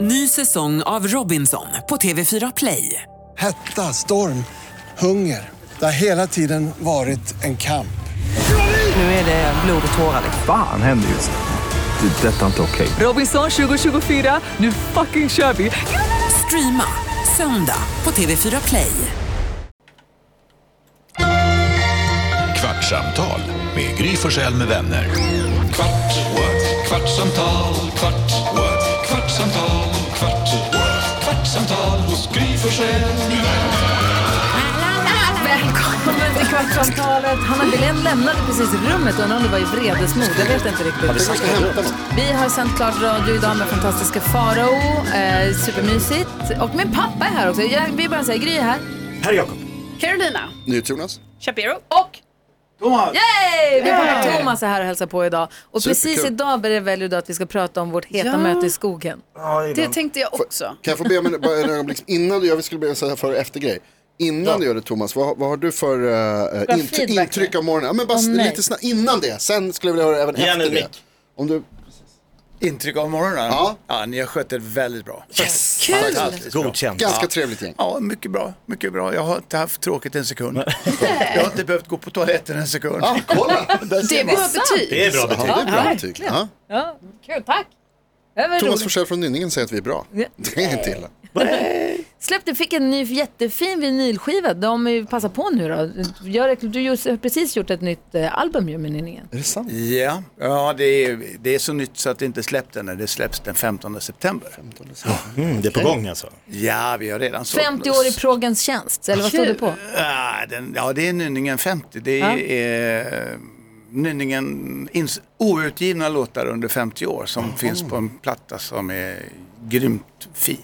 Ny säsong av Robinson på TV4 Play. Hetta, storm, hunger. Det har hela tiden varit en kamp. Nu är det blod och tårar. Fan händer just nu. Det. är Detta är inte okej. Robinson 2024, nu fucking kör vi! Streama söndag på TV4 Play. Kvartsamtal med Gry Forssell med vänner. Kvart, what? kvartsamtal, kvart, what? kvartsamtal, kvart, what? kvartsamtal hos Gry Forssell med vänner. Välkommen till Kvartsamtalet. Hanna Billén lämnade precis rummet och undrar om det var i vredesmod. Jag vet inte riktigt. Vi har sänt klart radio idag med fantastiska Farao. Eh, supermysigt. Och min pappa är här också. Jag vill bara säga Gry är här. Carolina. NyhetsJonas. Shapiro. Och Yay! Min pappa Thomas är här och hälsar på idag. Och precis Superkul. idag Berre, väljer du att vi ska prata om vårt heta Ja. möte i skogen. det tänkte jag också. Kan jag få be om en, bara en ögonblick innan du gör, vi skulle be om en sån här före och eftergrej. Innan du gör det Thomas, vad, vad har du för eh, Bra int- feedback intryck av morgonen? Ja, men bara Om mig. lite snabbt, innan det, sen skulle jag vilja höra även Ge henne efter en det. mick. Om du, Intryck av morgonen? Ja. ni har skött det väldigt bra. Kul! Fantastiskt bra. Godkänt. ganska trevligt gäng. Ja, mycket bra. Mycket bra. Jag har inte haft tråkigt en sekund. Jag har inte behövt gå på toaletten en sekund. Ja, kolla! Det är bra betyg. Det är bra Ja, betyg. det är bra betyg. Ja. Ja, kul. Tack! Det var Thomas roligt. Forsell från Nynningen säger att vi är bra. Det är inte illa. Släppte, fick en ny jättefin vinylskiva. De är ju- passar på nu då. Gör, du just- har precis gjort ett nytt eh, album ju med Nynningen. Är det sant? Ja, ja det, är, det är så nytt så att det inte släppt än. Det släpps den 15 september. Mm, det är på gång alltså. Ja, vi har redan sålt. 50 år i progens tjänst, eller vad stod det på? Ja, den, ja, det är Nynningen 50. Det Ja. är eh, Nynningen ins- outgivna låtar under 50 år som finns Mm. på en platta som är grymt fin.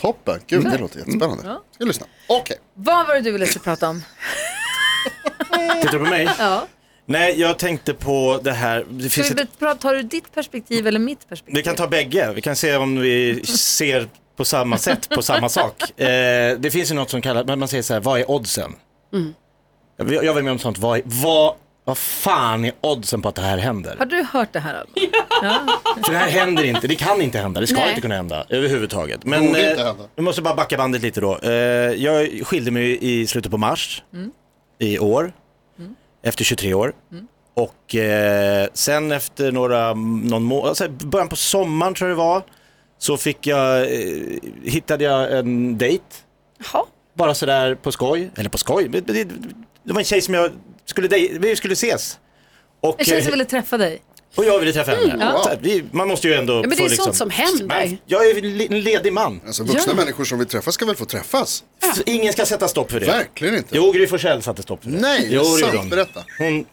Toppen, gud Mm. det låter jättespännande. Ska jag lyssna? Okej. Vad var det du ville prata om? Tittar du på mig? Ja. Nej, jag tänkte på det här. Det Ska finns vi ett... bet- prata- tar du ditt perspektiv eller mitt perspektiv? Vi kan ta bägge. Vi kan se om vi ser på samma sätt på samma sak. Eh, det finns ju något som kallas, men man säger så här, vad är oddsen? Jag, jag var med om sånt, vad, är- vad, vad fan är oddsen på att det här händer? Har du hört det här Alma? För det här händer inte, det kan inte hända, det ska Nej. inte kunna hända överhuvudtaget. Men Borde inte eh, hända. vi måste bara backa bandet lite då. Eh, jag skilde mig i slutet på mars i år, efter 23 år. Och eh, sen efter några, någon må- alltså början på sommaren tror jag det var, så fick jag, eh, hittade jag en dejt. Bara sådär på skoj, eller på skoj, men det, det var en tjej som jag skulle dej- vi skulle ses. Och, En tjej eh, som ville träffa dig. och jag ville träffa henne. ja. Så här, vi, man måste ju ändå Mm, Ja, men det få är liksom... sånt som händer. Jag är le- en ledig man. Alltså vuxna människor som vill träffas ska väl få träffas? Så Ingen ska sätta stopp för det. Verkligen inte. Jo, Gry Forssell satte stopp för det. Nej, jo, det sant, gjorde hon. berätta. Hon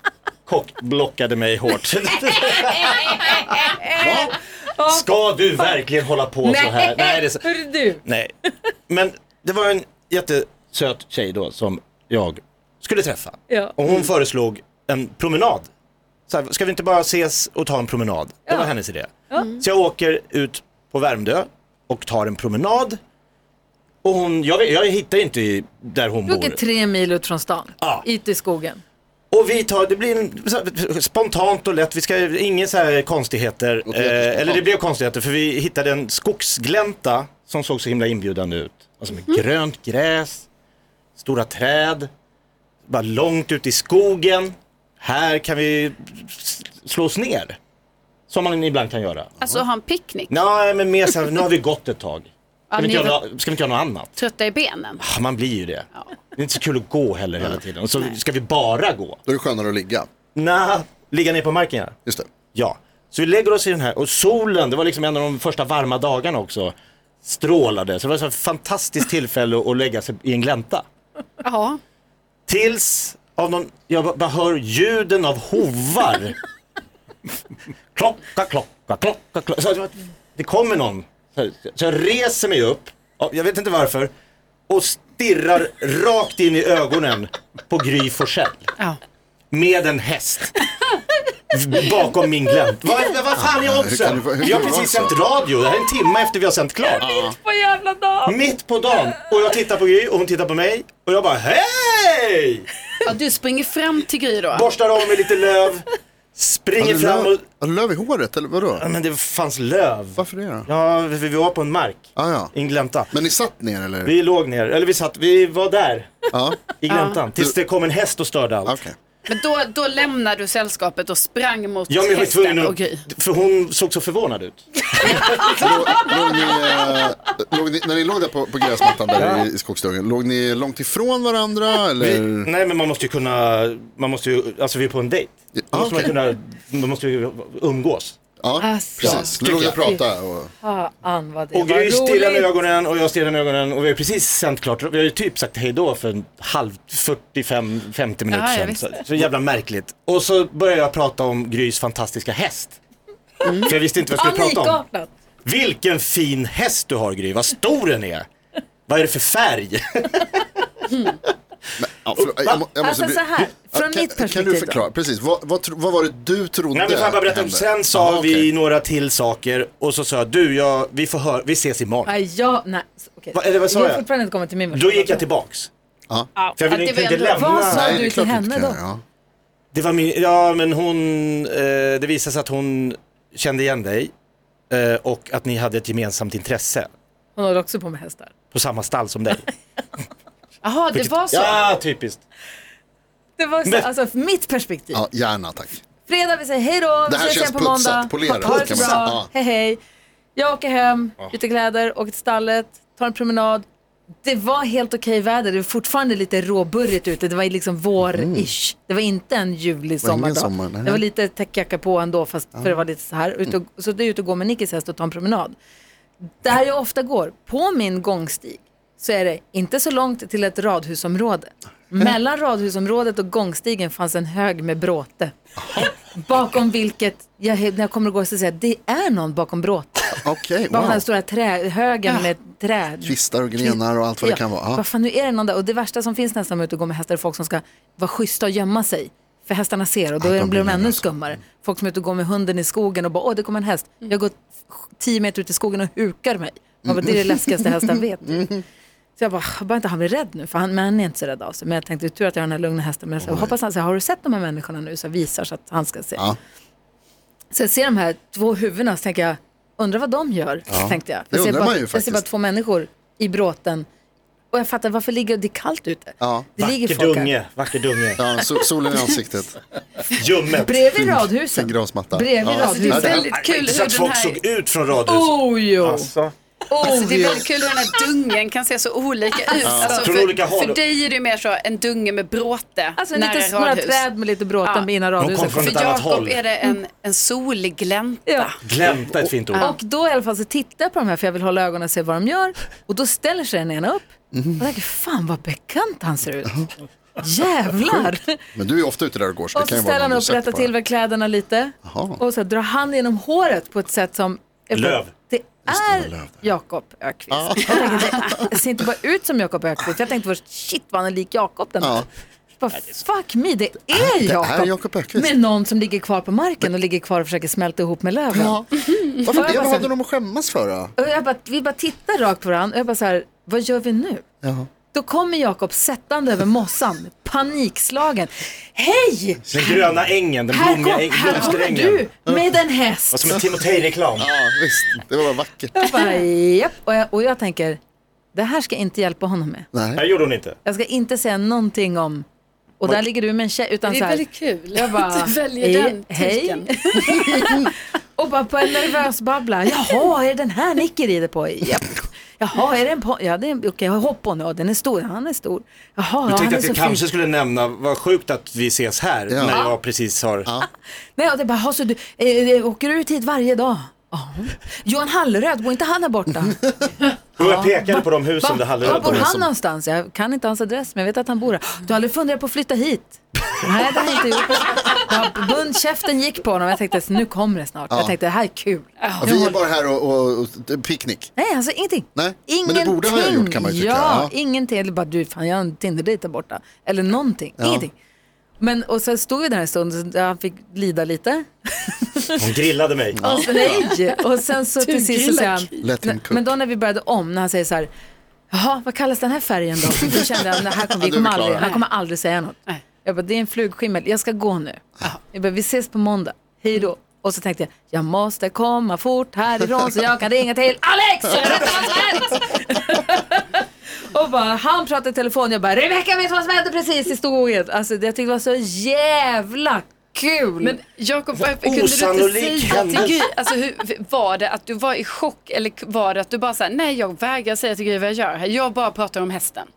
kockblockade mig hårt. Va? Ska du verkligen hålla på så här? Nej, det är så... hur du? Nej. Men det var en jättesöt tjej då som jag skulle träffa. Ja. Och hon föreslog en promenad. Så här, ska vi inte bara ses och ta en promenad? Det var hennes idé. Mm. Så jag åker ut på Värmdö och tar en promenad. Och hon, jag, vet- jag hittar ju inte i- där hon Du bor. åker tre mil ut från stan, Ja. ut i skogen. Och vi tar, det blir en, så här, spontant och lätt, vi ska, inga så här konstigheter. Låter jättespontant. Eh, eller det blev konstigheter för vi hittade en skogsglänta som såg så himla inbjudande ut. Alltså Mm. med grönt gräs, stora träd, bara långt ut i skogen. Här kan vi s- slås ner. Som man ibland kan göra. Alltså ha en picknick. Nej men mer så här, nu har vi gått ett tag. Ska vi inte Ja, ni göra, nå- ska vi inte göra något annat? Trötta i benen. Ah, Man blir ju det. Det är inte så kul att gå heller hela tiden. Och så ska vi bara gå. Då är det skönare att ligga. Nej, ligga ner på marken ja. Just det. Ja, så vi lägger oss i den här och solen, det var liksom en av de första varma dagarna också, strålade. Så det var så ett fantastiskt tillfälle att lägga sig i en glänta. Ja. Tills av någon, jag bara- bara hör ljuden av hovar. klocka, klocka, klocka, klocka. Så jag- det kommer någon. Så här, Så jag reser mig upp, ja, jag vet inte varför, och stirrar rakt in i ögonen på Gry Forssell ja. med en häst bakom min glänt. Vad, vad fan är hur kan oddsen? du- hur kan Vi har du vara precis så? sänt radio, det här är en timme efter vi har sänt klart. På jävla dag! Mitt på dagen och jag tittar på Gry och hon tittar på mig och jag bara hej! ja. Du springer fram till Gry då. Borstar av mig lite löv, Springer Hade fram löv, och... hade löv i håret eller vadå? Ja, men det fanns löv. Varför det då? Ja, vi, vi var på en mark Ah, ja. i en glänta. Men ni satt ner eller? Vi låg ner, eller vi satt, vi var där Ja, i gläntan tills det kom en häst och störde allt. okej. Men då, då lämnar du sällskapet och sprang mot Ja, men jag var tvungen hästen att, och Gry. för hon såg så förvånad ut. Låg ni, eh, låg ni, när ni låg där på, på gräsmattan där i, i skogsdungen, låg ni långt ifrån varandra Vi, eller? nej men man måste ju kunna, man måste ju, alltså vi är på en dejt. Då Ja, måste man okej. kunna, man måste ju umgås. Ja, Alltså. precis. Ni låg och Tycker pratade och... Fan vad det Och Gry var stirrar med roligt. ögonen och jag stirrar med ögonen och vi har precis sänt klart, vi har ju typ sagt hej då för en halv, 45-50 minuter Ja, ja, sedan. visst. Så, så jävla märkligt. Och så börjar jag prata om Grys fantastiska häst. Mm. För jag visste inte vad jag skulle prata om. Panikartat. Vilken fin häst du har Gry, vad stor den är. Vad är det för färg? Ja, förlåt, jag, må- jag måste Alltså bli- så här, från kan, mitt Kan perspektiv du då. förklara, precis, vad, vad, tro- vad var det du trodde Nej men får jag bara berätta, hände? sen sa Aha, vi okej. några till saker och så sa jag, du jag, vi får höra, vi ses imorgon. Nej, jag, nej. så- okej. Va- eller vad sa jag? jag? har fortfarande inte kommit till min version. Då gick jag tillbaks. Ja, För jag ville det inte var ändå- lämna. Vad sa Nej, du det är till klart henne inte då? kan, ja. Det var min, ja men hon, eh, det visade sig att hon kände igen dig eh, och att ni hade ett gemensamt intresse Hon håller också på med hästar. på samma stall som dig. Jaha, det var så. Ja, typiskt. Det var så, Men- alltså mitt perspektiv. Ja, gärna tack. Fredag, vi säger hej då, vi Det här ses känns igen på putsat, måndag. polerat, ha det så kan bra, man säga. Ja. hej hej. Jag åker hem, byter kläder, åker till stallet, tar en promenad. Det var helt okej väder, det var fortfarande lite råburrigt ute. Det var liksom vår-ish. Det var inte en ljuvlig Mm. var ingen sommardag. sommar, nej. Mm. det var lite täckjacka på ändå, fast för det var lite så här. Ute och, så det är ute och går med Nickis häst och tar en promenad. Där jag ofta går, på min gångstig, så är det inte så långt till ett radhusområde. Mellan radhusområdet och gångstigen fanns en hög med bråte. Bakom vilket, jag, när jag kommer att gå så säger jag, det är någon bakom bråte. Okej, Bakom wow. Ah. den stora trähögen med trä. Kvistar och grenar och allt vad det Ja, kan vara. Ah. Ja. Vad fan, nu är det någon där. Och det värsta som finns nästan med att gå med hästar är folk som ska vara schyssta och gömma sig. För hästarna ser och då de är de, blir de blir ännu nervösa. Mm. skummare. Folk som är ute och går med hunden i skogen och bara, åh det kommer en häst. Jag går tio meter ut i skogen och hukar mig. Man bara, det är Mm. det läskigaste hästen vet. Så jag bara, jag bara inte han blir rädd nu, för han, men han är inte så rädd av sig. Men jag tänkte, tur att jag har den här lugna hästen. Men jag sa, hoppas han säger, har du sett de här människorna nu? Så jag visar så att han ska se. Ja. Så jag ser de här två huvudena så tänker jag, undrar vad de gör? Tänkte jag. Det jag, ser undrar bara, man ju jag ser bara faktiskt. två människor i bråten. Och jag fattar, varför ligger det är kallt ute? Ja. Det ligger Vacker folk här. dunge, vacker dunge. Ja, so- solen i ansiktet, Ljummet. Bredvid en radhusen. gräsmatta. Bredvid ja. radhusen. det- väldigt kul Inte hur så att den folk här- såg ut från radhuset. Oh jo! oh, Alltså, det är jo. väldigt kul hur den här dungen kan se så olika ut. Alltså, Från för, olika håll. för dig är det ju mer så en dunge med bråte Alltså nära lite några radhus. träd med lite bråten Ja. innan De kom radhuset från kom. ett För annat Jakob håll. är det en, en solig glänta. Ja. Glänta är ett fint ord. Och då i alla fall så tittar jag på de här för jag vill hålla ögonen och se vad de gör. Och då ställer sig den ena upp. Mhm. Och tänker, fan vad bekant han ser ut. Jävlar! Men du är ofta ute där och går så det Och kan så ju vara ställer han någon du upp, söker rättar på. till väl kläderna lite. Jaha. Och så drar han genom håret på ett sätt som... Löv. Det var löv är där. Ah. Jakob Ökvist. Jag tänkte, det ser inte bara ut som Jakob Ökvist. Jag tänkte först, shit vad han är lik Jakob den Ja. där. Bara, fuck me, det är Ah. det är Jakob. Jakob Ökvist. Med någon som ligger kvar på marken och ligger kvar och försöker smälta ihop med löven. Ja. Varför det? bara Vad säga- hade de att skämmas för då? Och jag bara, vi bara tittar rakt på varandra och jag bara så här, vad gör vi nu? Då kommer Jakob sättande över mossan, panikslagen. Hej! Den gröna ängen, den Här, kom, blommiga äng- här kommer blomsterängen. du med en häst. Vad som en Timotej-reklam. Ja, visst. Det var bara vackert. Jag bara, Japp. Och, jag, och jag tänker, det här ska jag inte hjälpa honom med. Det gjorde hon inte. Jag ska inte säga någonting om, och där ligger du med en tjej, utan Det så är här, väldigt kul jag bara, att du väljer hej, den hej. hej. och bara på en nervös babbla, jaha, är det den här Nicky rider på? Japp. Jaha, är det en po- Ja, det är en, okej, hopp på nu, Ja, den är stor, han är stor. Jaha, ja, Du han tänkte är att så jag fin. kanske skulle nämna, vad sjukt att vi ses här Ja. när jag precis har... Nej, och det bara, "Jaha, så du eh, eh, åker du ut hit varje dag? Ja. Johan Hallröd, bor inte han där borta? Och jag pekade på de husen där Va? Var Halleröd bor var. han någonstans? Jag kan inte hans adress, men jag vet att han bor här. Du har aldrig funderat på att flytta hit? Nej, det har jag inte gjort. Ja, Bundkäften gick på honom. Jag tänkte, nu kommer det snart. Jag tänkte, det här är kul. Ja, vi är bara här och, och, och picknick. Nej, alltså ingenting. Nej, men ingenting. det borde ha jag gjort, kan man ju tycka. Ja, Ja. ingenting. Eller bara, du, fan, jag har en Tinder-dejt där borta. Eller någonting. Ingenting. Men, och så stod vi där en stund, så han fick lida lite. Hon grillade mig. Och sen, Alltså, nej. Och sen så till sist så säger han, Let him cook. men då när vi började om, när han säger så här, jaha, vad kallas den här färgen då? Då kände jag, "Nej, här kommer, vi Ja, du är kommer aldrig, klara. han kommer aldrig säga något. Nej. Jag bara, det är en flugskimmel, jag ska gå nu. Jag bara, vi ses på måndag, hej då. Och så tänkte jag, jag måste komma fort härifrån så jag kan ringa till Alex! Jag vet inte vad som hänt! Och bara, han pratade i telefon, jag bara, Rebecka vet vad som hände precis i skogen. Alltså det- jag tyckte det var så jävla kul. Men Jakob, vad- kunde du inte osannolik säga till händelse. Gry, alltså, hur, var det att du var i chock eller var det att du bara såhär, nej jag vägrar säga till Gry vad jag gör här, jag bara pratar om hästen.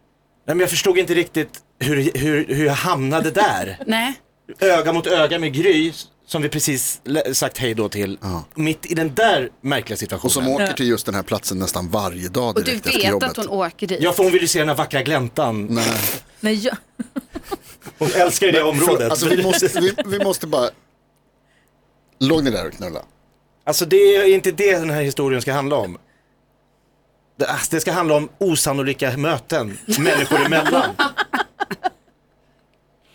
Nej, men jag förstod inte riktigt hur, hur, hur jag hamnade där. Nej, öga mot öga med Gry, som vi precis lä- sagt hej då till. Mitt i den där märkliga Och som situationen. åker till just den här platsen nästan varje dag och du direkt efter vet jobbet. att hon åker dit. Ja, för hon vill ju se den här vackra gläntan. Nej. Nej, jag... Hon älskar ju det området. Alltså, vi, måste, vi, vi måste bara... Låg ni där och knulla? Alltså det är inte det den här historien ska handla om. Det, alltså, det ska handla om osannolika möten människor emellan.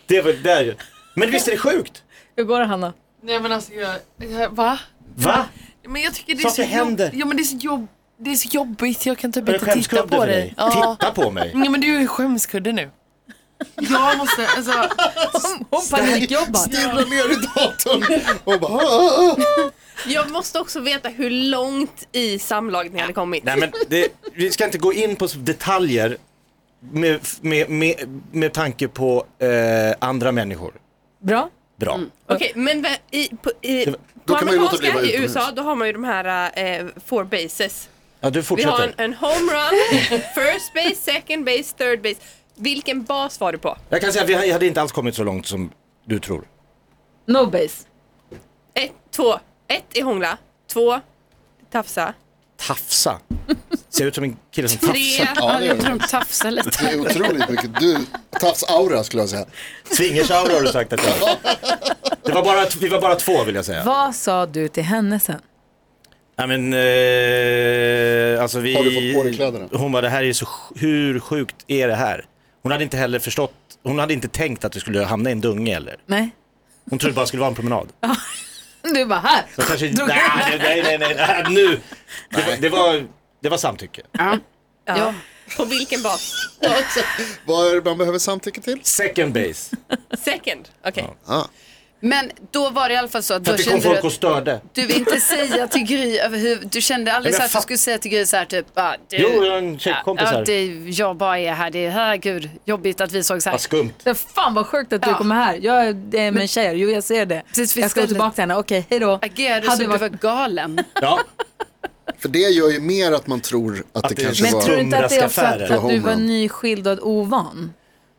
det var där ju. Men visst är det sjukt? Hur går det Hanna? Nej men alltså jag, jag va? Va? Men jag tycker det är Saker så händer. Ja men det är så, jobb, det är så jobbigt, jag kan typ Var det inte titta skämskudde på för dig. dig? Ja. Titta på mig. Nej men du är skämskudde nu. Jag måste, alltså. Hon panikjobbar. Stirrar ner i datorn och bara... "Ah, ah, Jag måste också veta hur långt i samlaget ni hade kommit. Nej men det, vi ska inte gå in på detaljer med, med, med, med tanke på eh, andra människor. Bra. Bra. Mm. Okej, men vä- i, på, i, Då på kan man ju låta amerikanska bli att vara i utomhus. USA då har man ju de här eh, four bases. Ja, du Vi har fortsätter. en, eh, en homerun, first base, second base, third base. Vilken bas var du på? Jag kan säga att vi hade inte alls kommit så långt som du tror. No base. Ett, två. Ett är hångla, två tafsa, Tafsa. Ser ut som en kille som Tre, tafsar. Ja, ja, det gör jag det. tror de tafsar lite. Det är otroligt mycket. Du, tafs-aura skulle jag säga. Swingersaura har du sagt att jag är. det var bara, Vi var bara två vill jag säga. Vad sa du till henne sen? Nej men, eh, alltså vi... Har du fått på dig kläderna? Hon bara, det här är så, sj- hur sjukt är det här? Hon hade inte heller förstått, hon hade inte tänkt att vi skulle hamna i en dunge eller. Nej. Hon trodde bara det skulle vara en promenad. Du bara här. Så kanske, Drog- nej, nej, nej, nej, nej, nej, nu. Det var, det var, det var samtycke. ja. På vilken bas? Vad är det man behöver samtycke till? Ah, Second base. Second, okej. Men då var det i alla fall så att För då att det kom kände du folk och att störde. du vill inte säga till Gry överhuvud, du kände aldrig Men så jag att du fatt- skulle säga till Gry så här typ, ah, du, Jo, jag har en tjejkompis ja, här. det, jag bara är här, det är, herregud, jobbigt att vi såg så här. Vad skumt. Det är fan vad sjukt att du Ja. kommer här. Jag är med en tjej här. Jo, jag ser det. Precis, vi jag ska gå skulle- tillbaka till henne. Okej, hej då. Agerar du Hade som du varit- var galen? Ja. För det gör ju mer att man tror att, det, det- kanske Men var... tror du inte att det är också att, Humraskaffärer. att du var Homerun. nyskild och ovan?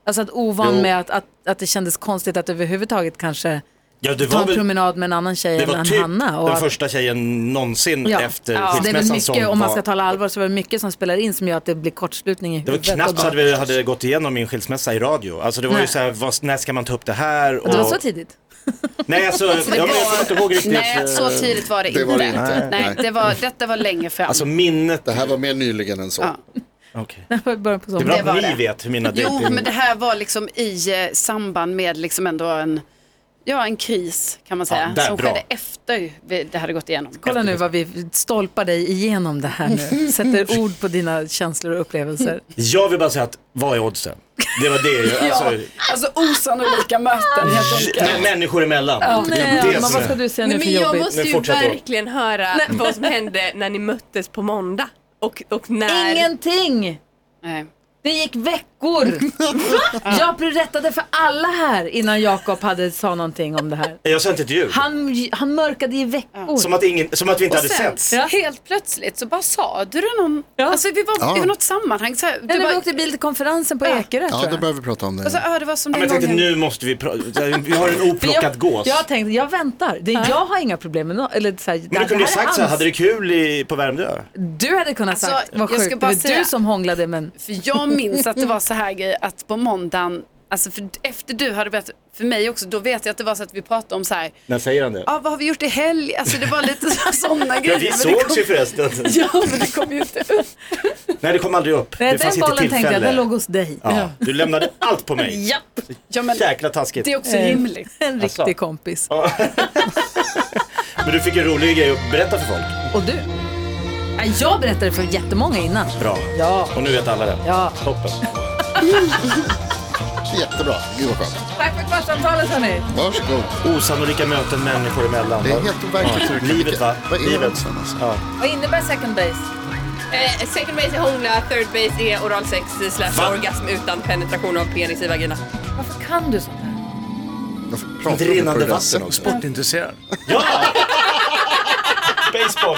Alltså att ovan Jo. med att, att, att det kändes konstigt att överhuvudtaget kanske ja, det ta var en väl promenad med en annan tjej Det än var en typ Hanna. Och den att, första tjejen någonsin Ja. efter Ja. Så det är väl skilsmässan mycket, som om man ska var... tala allvar, så var det mycket som spelar in som gör att det blir kortslutning i Det var huvudet och knappt så bara- att vi hade gått igenom min skilsmässa i radio. Alltså det var Nej. ju så här, vad, när ska man ta upp det här? Och... Det var så tidigt? Nej, alltså, ja, men jag kommer inte ihåg riktigt. eh, Nej, så tidigt var det, Det inte. var det inte. Nej, det var, detta var länge fram. Alltså minnet. Det här var mer nyligen än så. Ja. Okej. Det var i början på Det är bra sommaren. Det var att ni det. vet hur mina jo, dejting- men det här var liksom i eh, samband med liksom ändå en, ja, en kris kan man säga. där, som bra. skedde efter vi, det hade gått igenom. Kolla nu vad vi stolpar dig igenom det här nu. Sätter ord på dina känslor och upplevelser. Jag vill bara säga att, vad är oddsen? Det var det ju. Alltså, Alltså osannolika möten helt men- Människor emellan. Nej, det men som vad är- ska du säga nu Nej, för men jag jobbigt? måste Men ju fortsätt då. verkligen höra vad som hände när ni möttes på måndag. Och, och när... Ingenting! Nej. Det gick veckor! jag berättade för alla här innan Jakob hade sa någonting om det här. Jag sa inte ett ljud. Han, han mörkade i veckor. Som, att ingen, som att vi inte Och hade sen, setts. Ja. helt plötsligt så bara sa du det någon, Ja. alltså vi var Ja. i något sammanhang. Så här, du Eller vi bara, åkte bil till konferensen på Ja. Ekerö Ja, tror då jag. behöver vi prata om det. alltså, ja, det var som Ja, den men jag tänkte gången. nu måste vi pra- Vi har en oplockad gås. Jag tänkte, jag väntar. Det, jag har inga problem med något. Eller, så här, det Men du här kunde ju är sagt så här, hans- hade det kul i, på Värmdö? Du hade kunnat Alltså, sagt, vad jag sjukt, ska det bara var du säga- som hånglade men För jag minns att det var så här grej att på måndagen, alltså för, efter du hade berättat för mig också, då vet jag att det var så att vi pratade om så här, När säger han det? ah, vad har vi gjort i helg? Alltså det var lite sådana Ja, grejer. vi men det sågs kom, ju förresten. Ja, men det kom ju inte upp. Nej, det kom aldrig upp. Nej, det fanns den inte bollen tillfälle. tänkte jag, den låg hos dig. ja. Du lämnade allt på mig. Japp, Ja, men Jäkla taskigt. det är också rimligt. Eh, en riktig Alltså. kompis. Men du fick en rolig grej att berätta för folk. Och du? Nej, Jag berättade för jättemånga innan. Bra. Ja. Och nu vet alla det. Ja. Toppen. jättebra. Gud vad skönt. Tack för kvartsamtalet hörni. Varsågod. Osannolika möten människor emellan. Det är helt overkligt hur det kan Livet lyckas. va? Vad är Livet. Olsen, alltså? Ja. Vad innebär second base? Eh, second base är hångla, third base är oralsex slash orgasm utan penetration av penis i vagina. Varför kan du sånt här? Pratar du Rinnande på det där vatten sättet? också. Sportintresserad. Baseball.